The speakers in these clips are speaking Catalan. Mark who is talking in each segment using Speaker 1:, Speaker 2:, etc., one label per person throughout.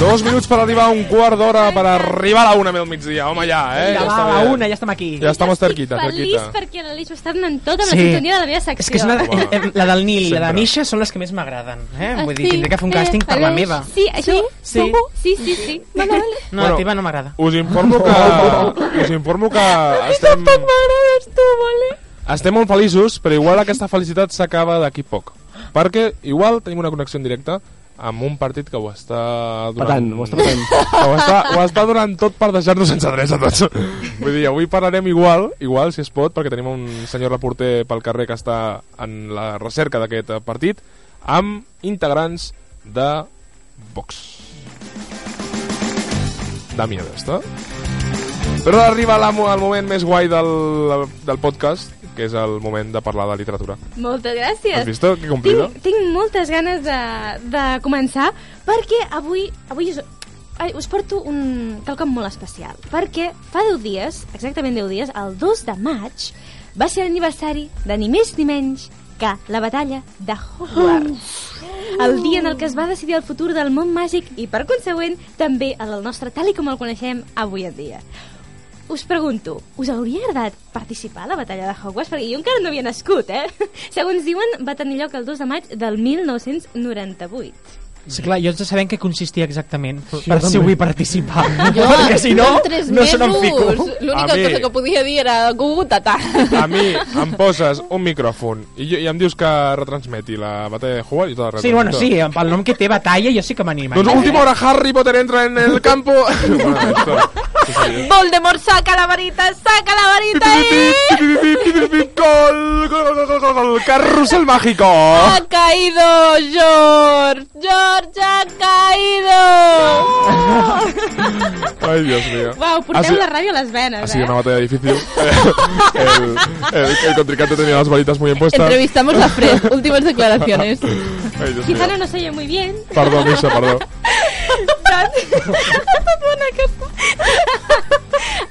Speaker 1: Dos minuts per arribar a un quart d'hora, per arribar a la una del migdia. Home, ja, eh?
Speaker 2: Ja va,
Speaker 1: està
Speaker 2: a
Speaker 1: bé.
Speaker 2: una, ja estem aquí.
Speaker 1: Ja estem cerquita,
Speaker 3: Feliç
Speaker 1: cerquita.
Speaker 3: perquè l'Aleix ho està donant tot amb la sintonia de la meva secció.
Speaker 2: És que és una de,
Speaker 1: Home.
Speaker 2: la del Nil i la de
Speaker 1: Sempre.
Speaker 2: Misha són les que més m'agraden. Eh?
Speaker 3: Ah,
Speaker 2: Vull dir,
Speaker 3: sí,
Speaker 2: tindré que fer un
Speaker 3: eh,
Speaker 2: càsting per la
Speaker 3: Aleix,
Speaker 2: meva.
Speaker 3: Sí, això?
Speaker 2: Sí.
Speaker 3: Segur? Sí, sí, sí. Vale, vale.
Speaker 2: No,
Speaker 1: Bueno.
Speaker 2: la teva no m'agrada.
Speaker 1: Us informo que... Us informo que estem...
Speaker 3: m'agrades tu, vale?
Speaker 1: Estem molt feliços, però igual aquesta felicitat s'acaba d'aquí poc. Perquè igual tenim una connexió en directe amb un partit que ho està donant...
Speaker 4: Patant, ho està patant.
Speaker 1: Que ho està, ho està donant tot per deixar-nos sense drets a tots. Vull dir, avui parlarem igual, igual si es pot, perquè tenim un senyor reporter pel carrer que està en la recerca d'aquest eh, partit, amb integrants de Vox. De miedo, està? Però ara arriba la, el moment més guai del, del podcast, que és el moment de parlar de literatura.
Speaker 3: Moltes
Speaker 1: Has
Speaker 3: gràcies.
Speaker 1: vist que cumplido?
Speaker 3: Tinc, tinc moltes ganes de, de començar perquè avui, avui us, ai, us porto un quelcom molt especial. Perquè fa 10 dies, exactament 10 dies, el 2 de maig, va ser l'aniversari de ni més ni menys que la batalla de Hogwarts. El dia en el que es va decidir el futur del món màgic i, per consegüent, també el del nostre tal i com el coneixem avui en dia. Us pregunto, us hauria agradat participar a la batalla de Hogwarts? Perquè jo encara no havia nascut, eh? Segons diuen, va tenir lloc el 2 de maig del 1998.
Speaker 2: Sí, clar, jo haig de saber en què consistia exactament, per,
Speaker 4: jo
Speaker 2: per si
Speaker 4: també.
Speaker 2: vull participar.
Speaker 5: Jo,
Speaker 2: Perquè si no,
Speaker 5: en tres
Speaker 2: no se n'en fico.
Speaker 5: mesos, L'única
Speaker 1: A mi-
Speaker 5: cosa que podia dir era Gugu Tatà.
Speaker 1: A mi em poses un micròfon i, jo, i em dius que retransmeti la batalla de Hogwarts i tot el
Speaker 2: Sí, bueno, sí, amb el nom que té batalla jo sí que m'anima. eh?
Speaker 1: Doncs última hora, Harry Potter entra en el campo... bueno, esto, sí, sí.
Speaker 5: Voldemort, saca la varita, saca la varita i...
Speaker 1: Gol, gol, gol, gol, gol, gol, carrusel mágico.
Speaker 5: Ha caído, George! George ha caído!
Speaker 1: Ay, Dios mío.
Speaker 3: Uau,
Speaker 1: Ha
Speaker 3: porteu
Speaker 1: sido-
Speaker 3: la ràdio a les venes,
Speaker 1: Ha sido
Speaker 3: eh?
Speaker 1: una batalla difícil. el, el, el contrincante tenía las varitas muy impuestas.
Speaker 5: Entrevistamos a Fred. Últimas declaraciones.
Speaker 1: Ay, Dios mío.
Speaker 3: Quizá no nos oye muy bien.
Speaker 1: Perdó, Misha, perdó.
Speaker 3: Doncs... ha estat bona aquesta.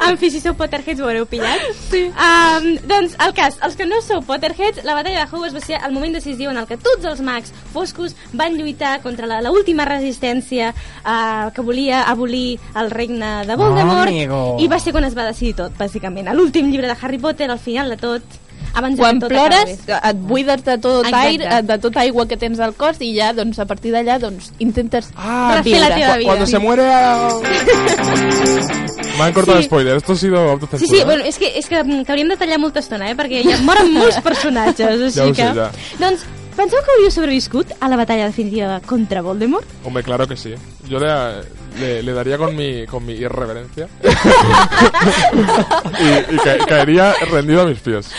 Speaker 3: en fi, si sou Potterheads ho haureu pillat. Sí. Um, doncs, el cas, els que no sou Potterheads, la batalla de Hogwarts va ser el moment decisiu en el que tots els mags foscos van lluitar contra la- l'última resistència uh, que volia abolir el regne de Voldemort.
Speaker 2: Amigo.
Speaker 3: I va ser quan es va decidir tot, bàsicament. A L'últim llibre de Harry Potter, al final de tot, abans
Speaker 5: Quan
Speaker 3: de que tot
Speaker 5: plores,
Speaker 3: acabés.
Speaker 5: et buides de tot
Speaker 3: Exacte.
Speaker 5: aire, de tota aigua que tens al cos i ja, doncs, a partir d'allà, doncs, intentes
Speaker 1: Ah,
Speaker 5: reviure.
Speaker 3: la teva vida.
Speaker 1: Cuando se muere... ah. Me han cortado spoiler. Esto ha sido autocensura. ¿eh?
Speaker 3: Sí, sí, bueno, és que, és que, mm, que hauríem de tallar molta estona, eh? Perquè ja moren molts personatges, així
Speaker 1: Ja ho sé,
Speaker 3: que...
Speaker 1: ja.
Speaker 3: Doncs, penseu que hauríeu sobreviscut a la batalla definitiva contra Voldemort?
Speaker 1: Hombre, claro que sí. Yo le, le, le daría con mi, con mi irreverencia. y y ca- caería rendido a mis pies.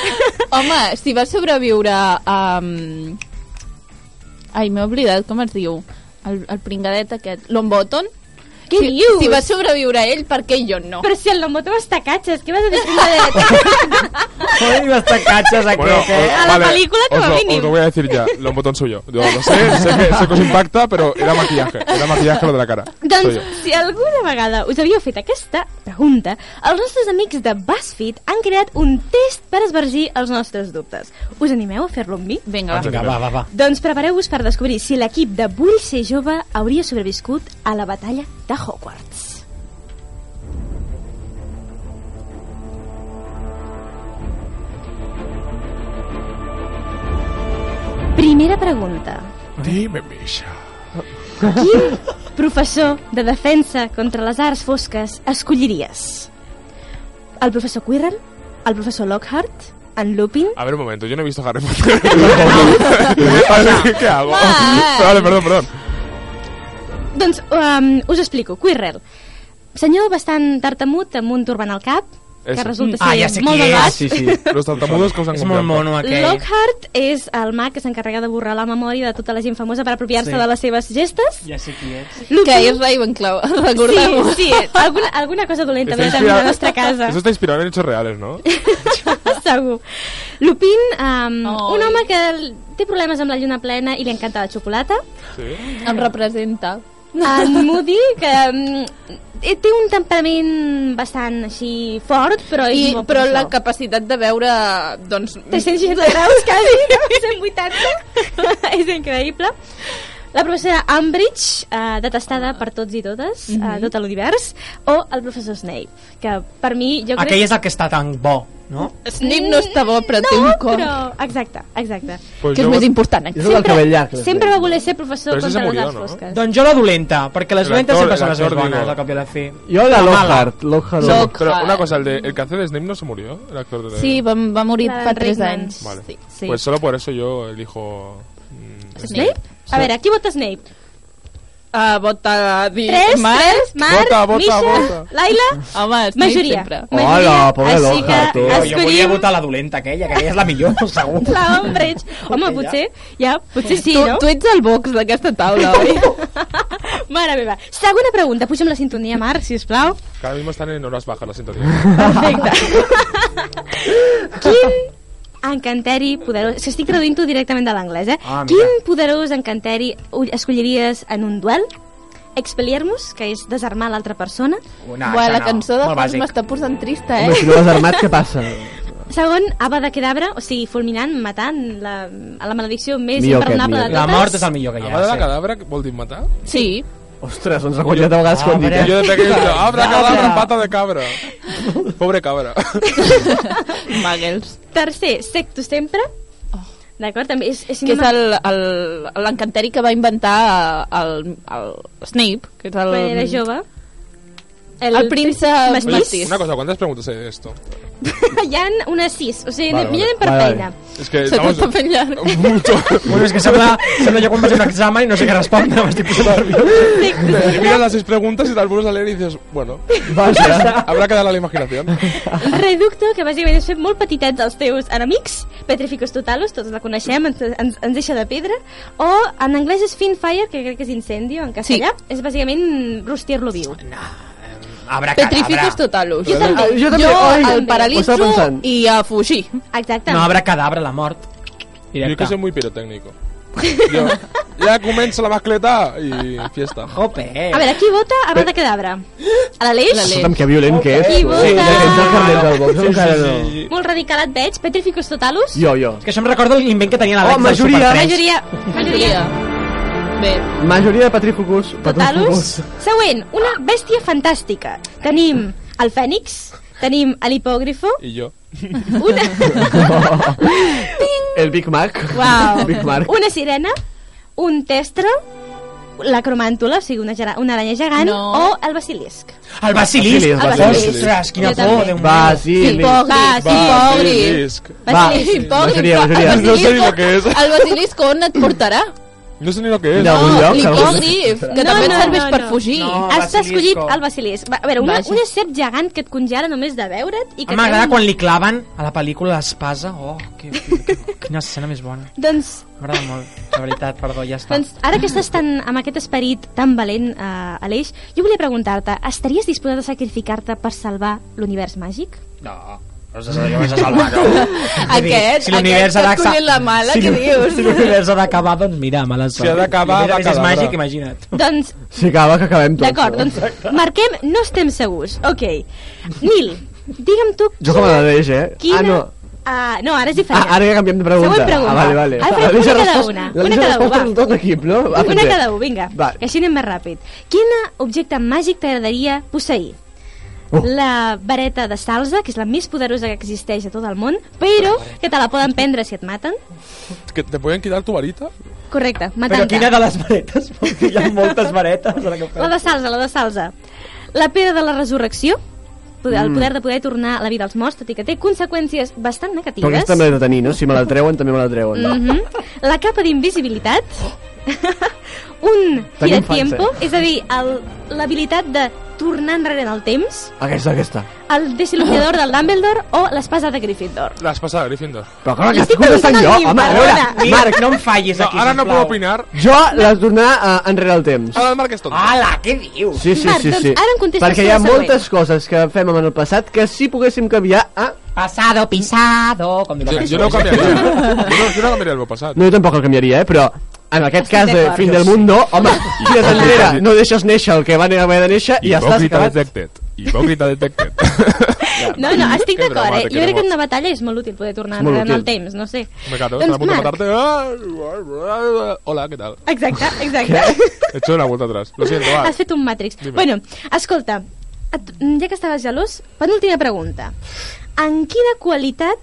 Speaker 5: Home, si vas sobreviure a... Um... Ai, m'he oblidat, com es diu? El, el pringadet aquest, l'Ombotton?
Speaker 3: Què
Speaker 5: si,
Speaker 3: dius?
Speaker 5: Si va sobreviure a ell, per què jo no?
Speaker 3: Però si el Lomoto va estar catxes, què vas a dir de...
Speaker 2: Ui, basta catxes
Speaker 1: Bueno,
Speaker 2: aquest, eh?
Speaker 1: os-
Speaker 3: A la película
Speaker 1: os
Speaker 3: como
Speaker 1: lo,
Speaker 3: mínimo.
Speaker 1: os lo voy a decir ya, lo botón suyo. Yo lo sé, sé que, sé que os impacta, pero era maquillaje. Era maquillaje lo de la cara. Soy
Speaker 3: doncs,
Speaker 1: yo.
Speaker 3: si alguna vegada us havíeu fet aquesta pregunta, els nostres amics de BuzzFeed han creat un test per esvergir els nostres dubtes. Us animeu a fer-lo amb mi?
Speaker 5: Vinga, va.
Speaker 2: Ah, Vinga, va, va, va.
Speaker 3: Doncs prepareu-vos per descobrir si l'equip de Vull ser jove hauria sobreviscut a la batalla de Hogwarts. Primera pregunta.
Speaker 1: Dime, Misha.
Speaker 3: Quin professor de defensa contra les arts fosques escolliries? El professor Quirrell? El professor Lockhart? En Lupin?
Speaker 1: A ver, un momento, yo no he visto Harry Potter. A ver, ¿Qué hago? Vale, perdón, perdón.
Speaker 3: Doncs um, us explico, Quirrell. Senyor bastant tartamut amb un turban al cap,
Speaker 1: Ese.
Speaker 3: que resulta ser
Speaker 2: Ah, ja sé
Speaker 3: molt
Speaker 2: qui és.
Speaker 3: malvat.
Speaker 2: Sí, sí.
Speaker 1: Los tartamudos causan
Speaker 2: És molt mono aquell.
Speaker 3: Lockhart és el mag que s'encarrega de borrar la memòria de tota la gent famosa per apropiar-se
Speaker 2: Sí.
Speaker 3: de les seves gestes.
Speaker 2: Ja sé qui ets.
Speaker 5: Que és Ravenclaw,
Speaker 3: Sí,
Speaker 5: recordem-ho.
Speaker 3: sí, alguna, alguna cosa dolenta ve
Speaker 1: Está
Speaker 3: també a la
Speaker 1: inspirado-
Speaker 3: nostra casa.
Speaker 1: Eso está inspirado en hechos reales, ¿no?
Speaker 3: Segur. Lupin, um,
Speaker 5: Oi.
Speaker 3: un home que l- té problemes amb la lluna plena i li encanta la xocolata.
Speaker 1: Sí.
Speaker 5: Em representa.
Speaker 3: En Moody, que um, té un temperament bastant així fort, però és
Speaker 5: I,
Speaker 3: molt
Speaker 5: però la
Speaker 3: professor.
Speaker 5: capacitat de veure, doncs...
Speaker 3: 360 graus quasi, no? 180. és increïble. La professora Umbridge, eh, detestada per tots i totes, mm -hmm. eh, tot l'univers, o el professor Snape, que per mi jo crec...
Speaker 2: Aquell és el que està tan bo, no?
Speaker 5: Snape no està bo, però té
Speaker 3: no,
Speaker 5: un cor.
Speaker 3: Però... Exacte, exacte.
Speaker 1: Pues
Speaker 5: Que és
Speaker 1: yo-
Speaker 5: més important, eh?
Speaker 4: És el del cabell llarg.
Speaker 3: Sempre va voler ser professor
Speaker 1: Però ese
Speaker 3: contra
Speaker 1: se
Speaker 3: les
Speaker 1: murió,
Speaker 3: arts
Speaker 1: no?
Speaker 3: fosques.
Speaker 2: Doncs jo la dolenta, perquè les
Speaker 1: El
Speaker 2: dolentes
Speaker 1: actor-
Speaker 2: sempre són
Speaker 1: el
Speaker 2: les més
Speaker 1: actor,
Speaker 2: bones,
Speaker 1: digo.
Speaker 2: al cap i a la fi.
Speaker 4: Jo la Lockhart. Lockhart.
Speaker 5: Lock-
Speaker 1: Pero
Speaker 5: Ojalá.
Speaker 1: una cosa, el, de, el que hace de Snape no se murió, el actor de...
Speaker 5: Sí, va, va morir
Speaker 3: La d'en
Speaker 5: fa 3
Speaker 3: Rickman.
Speaker 5: anys.
Speaker 1: Vale.
Speaker 3: Sí, sí.
Speaker 1: Pues solo por eso yo elijo... mm,
Speaker 3: Snape? A veure, qui vota Snape?
Speaker 5: Uh, vota dir...
Speaker 3: 3,
Speaker 5: Mar-
Speaker 3: 3, Marc,
Speaker 1: Vota, vota,
Speaker 3: Misha,
Speaker 1: vota.
Speaker 3: Laila...
Speaker 5: Home, Snape
Speaker 3: Majoria.
Speaker 5: sempre.
Speaker 3: majoria.
Speaker 4: Hola, pobre
Speaker 3: Així
Speaker 4: Loja,
Speaker 3: que
Speaker 4: tu. Jo- jo
Speaker 2: Jo volia
Speaker 3: escollim
Speaker 2: votar la dolenta aquella, que és la millor, segur.
Speaker 3: la Umbridge. Home, potser, ja, potser sí,
Speaker 5: tu,
Speaker 3: no?
Speaker 5: tu ets el box d'aquesta taula, oi?
Speaker 3: Mare meva. Segona pregunta. Puja'm la sintonia, Marc, si us plau.
Speaker 1: Cada mismo están en horas bajas, lo siento. tío.
Speaker 3: Perfecte. Quin encanteri poderós... És que estic traduint-ho directament de l'anglès, eh?
Speaker 2: Ah, mira.
Speaker 3: Quin poderós encanteri u- escolliries en un duel? Expelliarmus, que és desarmar l'altra persona.
Speaker 2: Una,
Speaker 5: Buah,
Speaker 2: això
Speaker 5: la
Speaker 2: no.
Speaker 5: cançó de
Speaker 2: Molt
Speaker 5: fons
Speaker 2: bàsic.
Speaker 5: m'està posant trista,
Speaker 4: Home, si
Speaker 5: eh?
Speaker 4: no vas armat, què passa?
Speaker 3: Segon, Ava de Kedavra, o sigui, fulminant, matant la, a la maledicció més
Speaker 4: Millor aquest,
Speaker 3: imperdonable de
Speaker 4: millor.
Speaker 3: totes.
Speaker 2: La mort és el millor que hi ha.
Speaker 1: ¿Abad de la
Speaker 2: sí.
Speaker 1: cadabra, Voldy matar?
Speaker 5: Sí.
Speaker 4: Ostres, ens ha guanyat a vegades quan dic.
Speaker 2: Abre.
Speaker 4: eh?
Speaker 1: Yo de pequeño decía, abra cadabra, pata de cabra. Pobre cabra.
Speaker 5: Muggles.
Speaker 3: Tercer, Secto sempre. D'acord? També és, és
Speaker 5: Que Oh. és
Speaker 3: cinema-
Speaker 5: el- el- l'encanteri que va inventar el, el Snape, que és el...
Speaker 3: quan era jove.
Speaker 5: El, príncep
Speaker 3: Mas-
Speaker 1: Oye,
Speaker 5: mestís.
Speaker 1: una cosa, ¿cuántas preguntas hay de esto?
Speaker 3: Hi ha unes sis, o sigui,
Speaker 4: Vale,
Speaker 3: vale, millor
Speaker 4: vale.
Speaker 3: anem per
Speaker 4: Vale,
Speaker 3: feina.
Speaker 4: vale.
Speaker 1: Es que
Speaker 5: Se
Speaker 1: estamos...
Speaker 5: t'està fent llarg.
Speaker 1: Mucho.
Speaker 2: Bueno, és que sembla, sembla jo quan vaig a un examen i no sé què respondre, m'estic posant nerviós.
Speaker 1: Te miras las seis preguntas y te las vuelves a leer y dices, bueno,
Speaker 4: Vaja.
Speaker 1: habrá que darle a la imaginación.
Speaker 3: Reducto, que bàsicament és fer molt petitets els teus enemics, Petrificus Totalus, tots la coneixem, ens, ens, ens deixa de pedra, o en anglès és Fin Fire, que crec que és incendio, en castellà, sí. és bàsicament rostir-lo viu.
Speaker 2: Abra
Speaker 5: Petrificus
Speaker 2: cadabra.
Speaker 5: totalus.
Speaker 4: Jo també, jo també, oi,
Speaker 5: jo el
Speaker 4: també. Ho
Speaker 5: paralitzo
Speaker 4: estava pensant.
Speaker 5: i a fugir.
Speaker 3: Exacte.
Speaker 2: No, abra cadabra, la mort.
Speaker 1: Yo que
Speaker 2: Directe.
Speaker 1: soy muy pirotécnico. Yo, ya comienza la mascleta y fiesta.
Speaker 2: Jope, eh.
Speaker 3: A veure, qui vota a Bada Cadabra? A l'Aleix?
Speaker 4: Escolta'm, que violent que és.
Speaker 3: I
Speaker 4: tu.
Speaker 3: vota.
Speaker 4: Sí, ets el Carlet del box,
Speaker 2: Sí, sí,
Speaker 4: encara
Speaker 2: sí,
Speaker 4: no.
Speaker 2: sí.
Speaker 3: Molt radical et veig, Petrificus Totalus?
Speaker 4: Jo, jo.
Speaker 2: És que això em recorda l'invent que tenia l'Àlex
Speaker 4: Oh,
Speaker 2: del
Speaker 4: majoria.
Speaker 2: Super tres.
Speaker 3: Majoria, majoria.
Speaker 5: Bé,
Speaker 4: Majoria de patrífugus.
Speaker 3: Totalus. Següent, una bèstia fantàstica. Tenim el fènix, tenim l'hipògrifo,
Speaker 1: Y yo.
Speaker 3: una...
Speaker 4: El Big Mac.
Speaker 3: Uau.
Speaker 4: Big Mac.
Speaker 3: una sirena, un testre, la cromàntula, o sigui, una, gera- una aranya gegant,
Speaker 5: No.
Speaker 3: o el basilisc.
Speaker 2: El Basilis.
Speaker 4: Basilis,
Speaker 2: El
Speaker 3: Basilis.
Speaker 2: Ostres, quina
Speaker 3: Ah, Jo
Speaker 2: por,
Speaker 3: també.
Speaker 2: Déu meu.
Speaker 4: Basili.
Speaker 5: Hipògric.
Speaker 1: Basilisk.
Speaker 4: Va,
Speaker 3: Basilisc.
Speaker 5: Hipògric.
Speaker 4: majoria,
Speaker 5: però
Speaker 4: majoria.
Speaker 5: el
Speaker 1: No sé ni
Speaker 5: basilisc-
Speaker 1: lo que és.
Speaker 5: El basilisc on et portarà?
Speaker 1: No sé ni lo que es.
Speaker 4: Mira,
Speaker 5: No,
Speaker 4: algun lloc,
Speaker 5: l'hipògrif, que
Speaker 3: No,
Speaker 5: també et
Speaker 3: no,
Speaker 5: serveix
Speaker 3: no,
Speaker 5: per
Speaker 3: no.
Speaker 5: fugir.
Speaker 2: No.
Speaker 3: Has
Speaker 2: basilisco.
Speaker 3: escollit el basilisc. Va, a veure, una,
Speaker 5: Vaja.
Speaker 3: una serp gegant que et congela només de veure't i
Speaker 2: A
Speaker 3: que...
Speaker 2: mi m'agrada
Speaker 3: treu-
Speaker 2: quan li claven a la pel·lícula l'espasa. Oh, que, que, quina escena més bona.
Speaker 3: Doncs,
Speaker 2: M'agrada molt, la veritat, perdó, ja està.
Speaker 3: doncs, ara que estàs tan, amb aquest esperit tan valent, eh, Aleix, jo volia preguntar-te, estaries disposat a sacrificar-te per salvar l'univers màgic?
Speaker 2: No, no sé si vas a salvar, no.
Speaker 5: Aquest, aquest que et coneix la mala,
Speaker 2: si,
Speaker 5: què dius?
Speaker 2: Si l'univers ha d'acabar, doncs mira, mala sort.
Speaker 1: ha d'acabar,
Speaker 2: I a més
Speaker 1: va
Speaker 2: a més és
Speaker 1: acabar.
Speaker 2: màgic, imagina't.
Speaker 3: Doncs,
Speaker 4: Si acaba, que acabem tots.
Speaker 3: d'acord,
Speaker 4: no?
Speaker 3: doncs, marquem, no estem segurs. Ok. Nil, digue'm tu...
Speaker 4: Jo com a l'Aleix, eh?
Speaker 3: Quina...
Speaker 4: Ah, no.
Speaker 3: Ah, no, ara és diferent.
Speaker 4: Ah, ara ja canviem de pregunta.
Speaker 3: Següent pregunta.
Speaker 4: Ah, vale, vale.
Speaker 3: Ara farem una
Speaker 4: L'Aleix ha
Speaker 3: cada
Speaker 4: respost-
Speaker 3: una.
Speaker 4: l'Aleix
Speaker 3: Una
Speaker 4: ha
Speaker 3: cada
Speaker 4: respost
Speaker 3: una, va.
Speaker 4: amb tot l'equip, no? Va,
Speaker 3: Una
Speaker 4: potser.
Speaker 3: cada un, vinga.
Speaker 4: ah, Va.
Speaker 3: Que així anem més ràpid. Quin objecte màgic t'agradaria posseir?
Speaker 4: Oh.
Speaker 3: La vareta de salsa, que és la més poderosa que existeix a tot el món, però que te la poden prendre si et maten.
Speaker 1: Que te pueden quitar tu varita.
Speaker 3: Correcte,
Speaker 2: Però quina
Speaker 3: matant-te.
Speaker 2: de les varetes? Perquè hi ha moltes varetes. Ara que
Speaker 3: La de salsa, la de salsa. La pedra de la resurrecció, poder- el
Speaker 4: Mm.
Speaker 3: poder de poder tornar a la vida als morts, tot i que té conseqüències bastant negatives.
Speaker 4: Però aquesta també he de tenir, no? Si me la treuen, també me la treuen.
Speaker 3: Mm La capa d'invisibilitat, un
Speaker 4: Tenim fans,
Speaker 3: giratiempo, és a dir, el- l'habilitat de tornar enrere en el temps,
Speaker 4: Aquesta, aquesta.
Speaker 3: el desil·luminador del Dumbledore o l'espasa de Gryffindor.
Speaker 1: L'has passat, Gryffindor.
Speaker 4: Però clar, que
Speaker 3: Estic
Speaker 4: estic contestant jo,
Speaker 3: contestant
Speaker 4: home,
Speaker 3: jo,
Speaker 4: a veure,
Speaker 3: perdona.
Speaker 4: Marc,
Speaker 2: Marc, no em fallis
Speaker 1: No,
Speaker 2: aquí,
Speaker 1: ara no
Speaker 2: sisplau.
Speaker 1: puc opinar. Ah,
Speaker 4: jo l'has tornar eh, enrere el temps.
Speaker 1: Ara el Marc és tonto.
Speaker 2: Ala, què dius?
Speaker 4: Sí, sí,
Speaker 3: Oh. Marc,
Speaker 4: sí,
Speaker 3: doncs
Speaker 4: sí.
Speaker 3: ara em contestes
Speaker 4: Perquè
Speaker 3: tu
Speaker 4: hi ha
Speaker 3: la següent.
Speaker 4: moltes coses que fem en el passat que sí poguéssim canviar a...
Speaker 2: Pasado, pisado... Com diu
Speaker 1: Jo,
Speaker 2: la
Speaker 1: jo no ho
Speaker 2: cançó.
Speaker 1: canviaria. jo, no, jo no canviaria el meu passat.
Speaker 4: No, jo tampoc el canviaria, eh, però en aquest
Speaker 5: Estic
Speaker 4: cas de
Speaker 5: d'acord,
Speaker 4: fin
Speaker 5: jo
Speaker 4: del
Speaker 5: sí.
Speaker 4: món no, home, tires enrere, no deixes néixer el que va haver de néixer i ja estàs
Speaker 1: Hipòcrita
Speaker 4: acabat.
Speaker 1: detected. Hipòcrita detected.
Speaker 3: No, no, estic
Speaker 1: Que
Speaker 3: d'acord, eh?
Speaker 1: dramàtic,
Speaker 3: Jo crec que
Speaker 1: era
Speaker 3: en una batalla és molt útil poder tornar
Speaker 4: És molt
Speaker 3: enrere en el
Speaker 4: útil.
Speaker 3: temps, no sé. Doncs
Speaker 1: Me cago, estava a punt de matar-te. Ah, Hola, què tal?
Speaker 3: Exacte, exacte.
Speaker 1: Hecho una vuelta atrás. Lo siento, va.
Speaker 3: Has fet un Matrix.
Speaker 1: Dime.
Speaker 3: Bueno, escolta, et, ja que estaves gelós, penúltima pregunta. En quina qualitat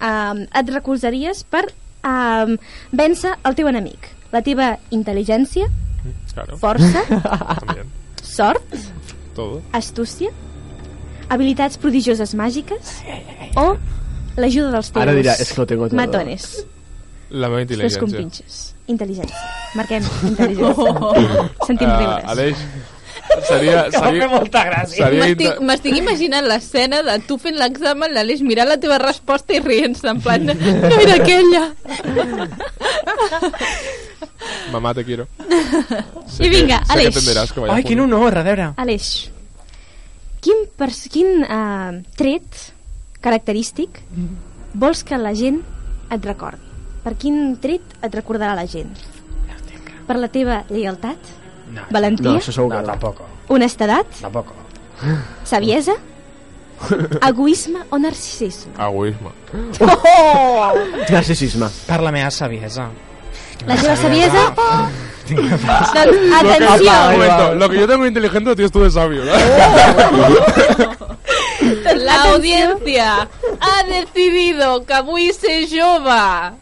Speaker 3: eh, et recolzaries per eh, vèncer el teu enemic? La teva intel·ligència,
Speaker 1: Claro,
Speaker 3: força,
Speaker 1: también.
Speaker 3: sort,
Speaker 1: Todo.
Speaker 3: astúcia, habilitats prodigioses màgiques o l'ajuda dels teus
Speaker 4: Ara dirà, "Es que lo tengo todo".
Speaker 3: matones,
Speaker 1: La meva
Speaker 3: els teus
Speaker 1: intel·ligència.
Speaker 3: compinxos. Intel·ligència. Marquem intel·ligència. Sentim
Speaker 4: Eh,
Speaker 1: Ah,
Speaker 3: riures.
Speaker 1: Aleix, seria...
Speaker 2: Que em
Speaker 1: seria...
Speaker 2: fa molta gràcia.
Speaker 1: Seria
Speaker 5: M'estic
Speaker 1: inte-
Speaker 5: m'estic imaginant l'escena de tu fent l'examen, l'Aleix mirant la teva resposta i rient-se, en plan, no era aquella.
Speaker 1: Mamá, te quiero. Sé
Speaker 3: I
Speaker 1: que-
Speaker 3: vinga,
Speaker 1: sé que
Speaker 3: Aleix.
Speaker 1: entenderàs que vaya
Speaker 2: Ai, quin
Speaker 1: junto.
Speaker 2: honor, a veure.
Speaker 3: Aleix, quin, pers quin uh, tret característic vols que la gent et recordi? Per quin tret et recordarà la gent? Per la teva lleialtat,
Speaker 2: No,
Speaker 3: valentia,
Speaker 4: No, això segur que no.
Speaker 2: tampoco,
Speaker 3: honestedat,
Speaker 2: tampoco.
Speaker 3: saviesa, egoisme o narcisisme?
Speaker 1: Egoisme.
Speaker 3: Oh!
Speaker 4: Narcisisme.
Speaker 2: Per la meva saviesa.
Speaker 3: La teva saviesa... Doncs,
Speaker 1: Un
Speaker 3: atenció,
Speaker 1: momento, lo que yo tengo inteligente lo tienes tú de sabio, ¿no?
Speaker 5: La audiència ha decidido que vull ser jove.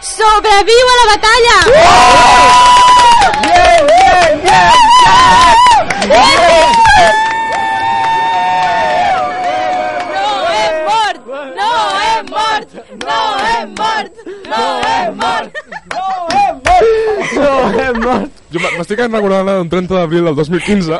Speaker 3: sobreviu a la batalla!
Speaker 5: No he mort! No he mort! No he mort! No he mort!
Speaker 4: No, hem mort.
Speaker 1: Yo me me estoy quedando recordando de un 30 de abril del 2015.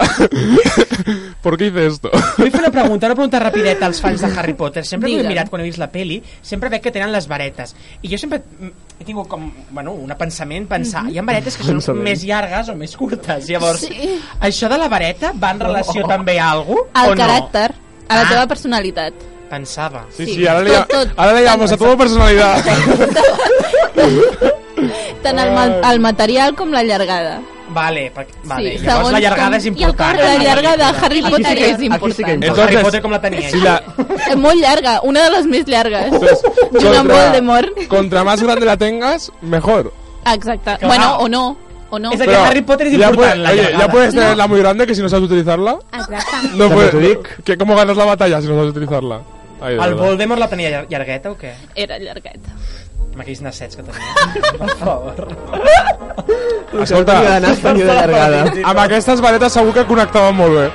Speaker 1: ¿Por qué hice esto?
Speaker 2: Vull fer una pregunta, una pregunta rapideta als fans de Harry Potter. Sempre que ho he
Speaker 5: Digue'm.
Speaker 2: mirat quan he vist la peli, sempre veig que tenen les varetes. I jo sempre mm, he tingut com, bueno, un pensament,
Speaker 5: Mhm.
Speaker 2: pensar, hi ha varetes que són
Speaker 4: Pensament.
Speaker 2: més llargues o més curtes. Llavors,
Speaker 5: Sí.
Speaker 2: això de la vareta va en relació també a algú
Speaker 5: El
Speaker 2: o
Speaker 5: caràcter, a la
Speaker 2: Ah.
Speaker 5: teva personalitat.
Speaker 2: no? Pensava.
Speaker 1: Sí,
Speaker 5: Sí,
Speaker 1: sí, ahora le,
Speaker 5: todo,
Speaker 1: llama-
Speaker 5: todo.
Speaker 1: ahora le llamamos a todo personalidad.
Speaker 5: Tant el, ma- el material com la llargada.
Speaker 2: Vale, perquè, vale.
Speaker 5: Sí,
Speaker 2: llavors
Speaker 5: segons
Speaker 2: la llargada
Speaker 5: com-
Speaker 2: és
Speaker 3: i el cor
Speaker 2: important.
Speaker 3: de
Speaker 5: La llargada de Harry
Speaker 4: Aquí sí
Speaker 5: Potter
Speaker 4: que-
Speaker 5: és
Speaker 4: aquí sí que
Speaker 5: important.
Speaker 4: importa.
Speaker 1: Entonces,
Speaker 2: Harry Potter com la tenia
Speaker 1: Si
Speaker 2: ella?
Speaker 1: la,
Speaker 5: És molt llarga, una de les més llargues.
Speaker 1: entonces,
Speaker 5: Joan Voldemort.
Speaker 1: contra más grande la tengas, mejor.
Speaker 5: Exacte.
Speaker 2: Clar.
Speaker 5: Bueno, o no, o no.
Speaker 2: És a dir, Harry Potter es
Speaker 1: ya
Speaker 2: importante,
Speaker 1: puede-
Speaker 2: la
Speaker 1: oye,
Speaker 2: llegada.
Speaker 1: ya puedes tenerla muy grande que si no sabes utilizarla.
Speaker 3: Exacte.
Speaker 1: No
Speaker 4: También te
Speaker 1: puedes.
Speaker 4: digo.
Speaker 1: Que, ¿Cómo ganas la batalla si no sabes utilizarla? Ay, de
Speaker 2: El
Speaker 1: verdad.
Speaker 2: Voldemort la tenia llar- llargueta o què?
Speaker 5: Era llargueta.
Speaker 2: Amb aquells nassets que tenia. per favor.
Speaker 1: Escolta,
Speaker 4: Hauria d'anar estanyó de llargada.
Speaker 1: amb aquestes varetes segur que connectaven molt bé.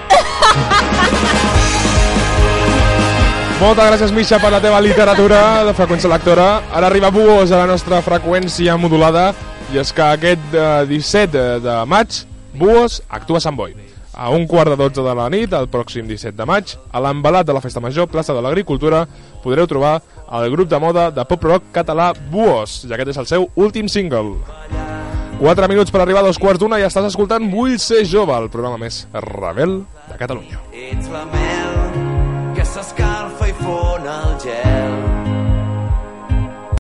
Speaker 1: Moltes gràcies, Misha, per la teva literatura de freqüència lectora. Ara arriba Bugos a la nostra freqüència modulada i és que aquest eh, 17 de maig Bugos actua a Sant Boi. A un quart de 12 de la nit, el pròxim 17 de maig, a l'embalat de la Festa Major, plaça de l'Agricultura, podreu trobar el grup de moda de pop rock català Buos, i aquest és el seu últim single. 4 minuts per arribar a dos quarts d'una i estàs escoltant Vull ser jove, el programa més rebel de Catalunya.
Speaker 6: Ets la mel que s'escalfa i fon el gel.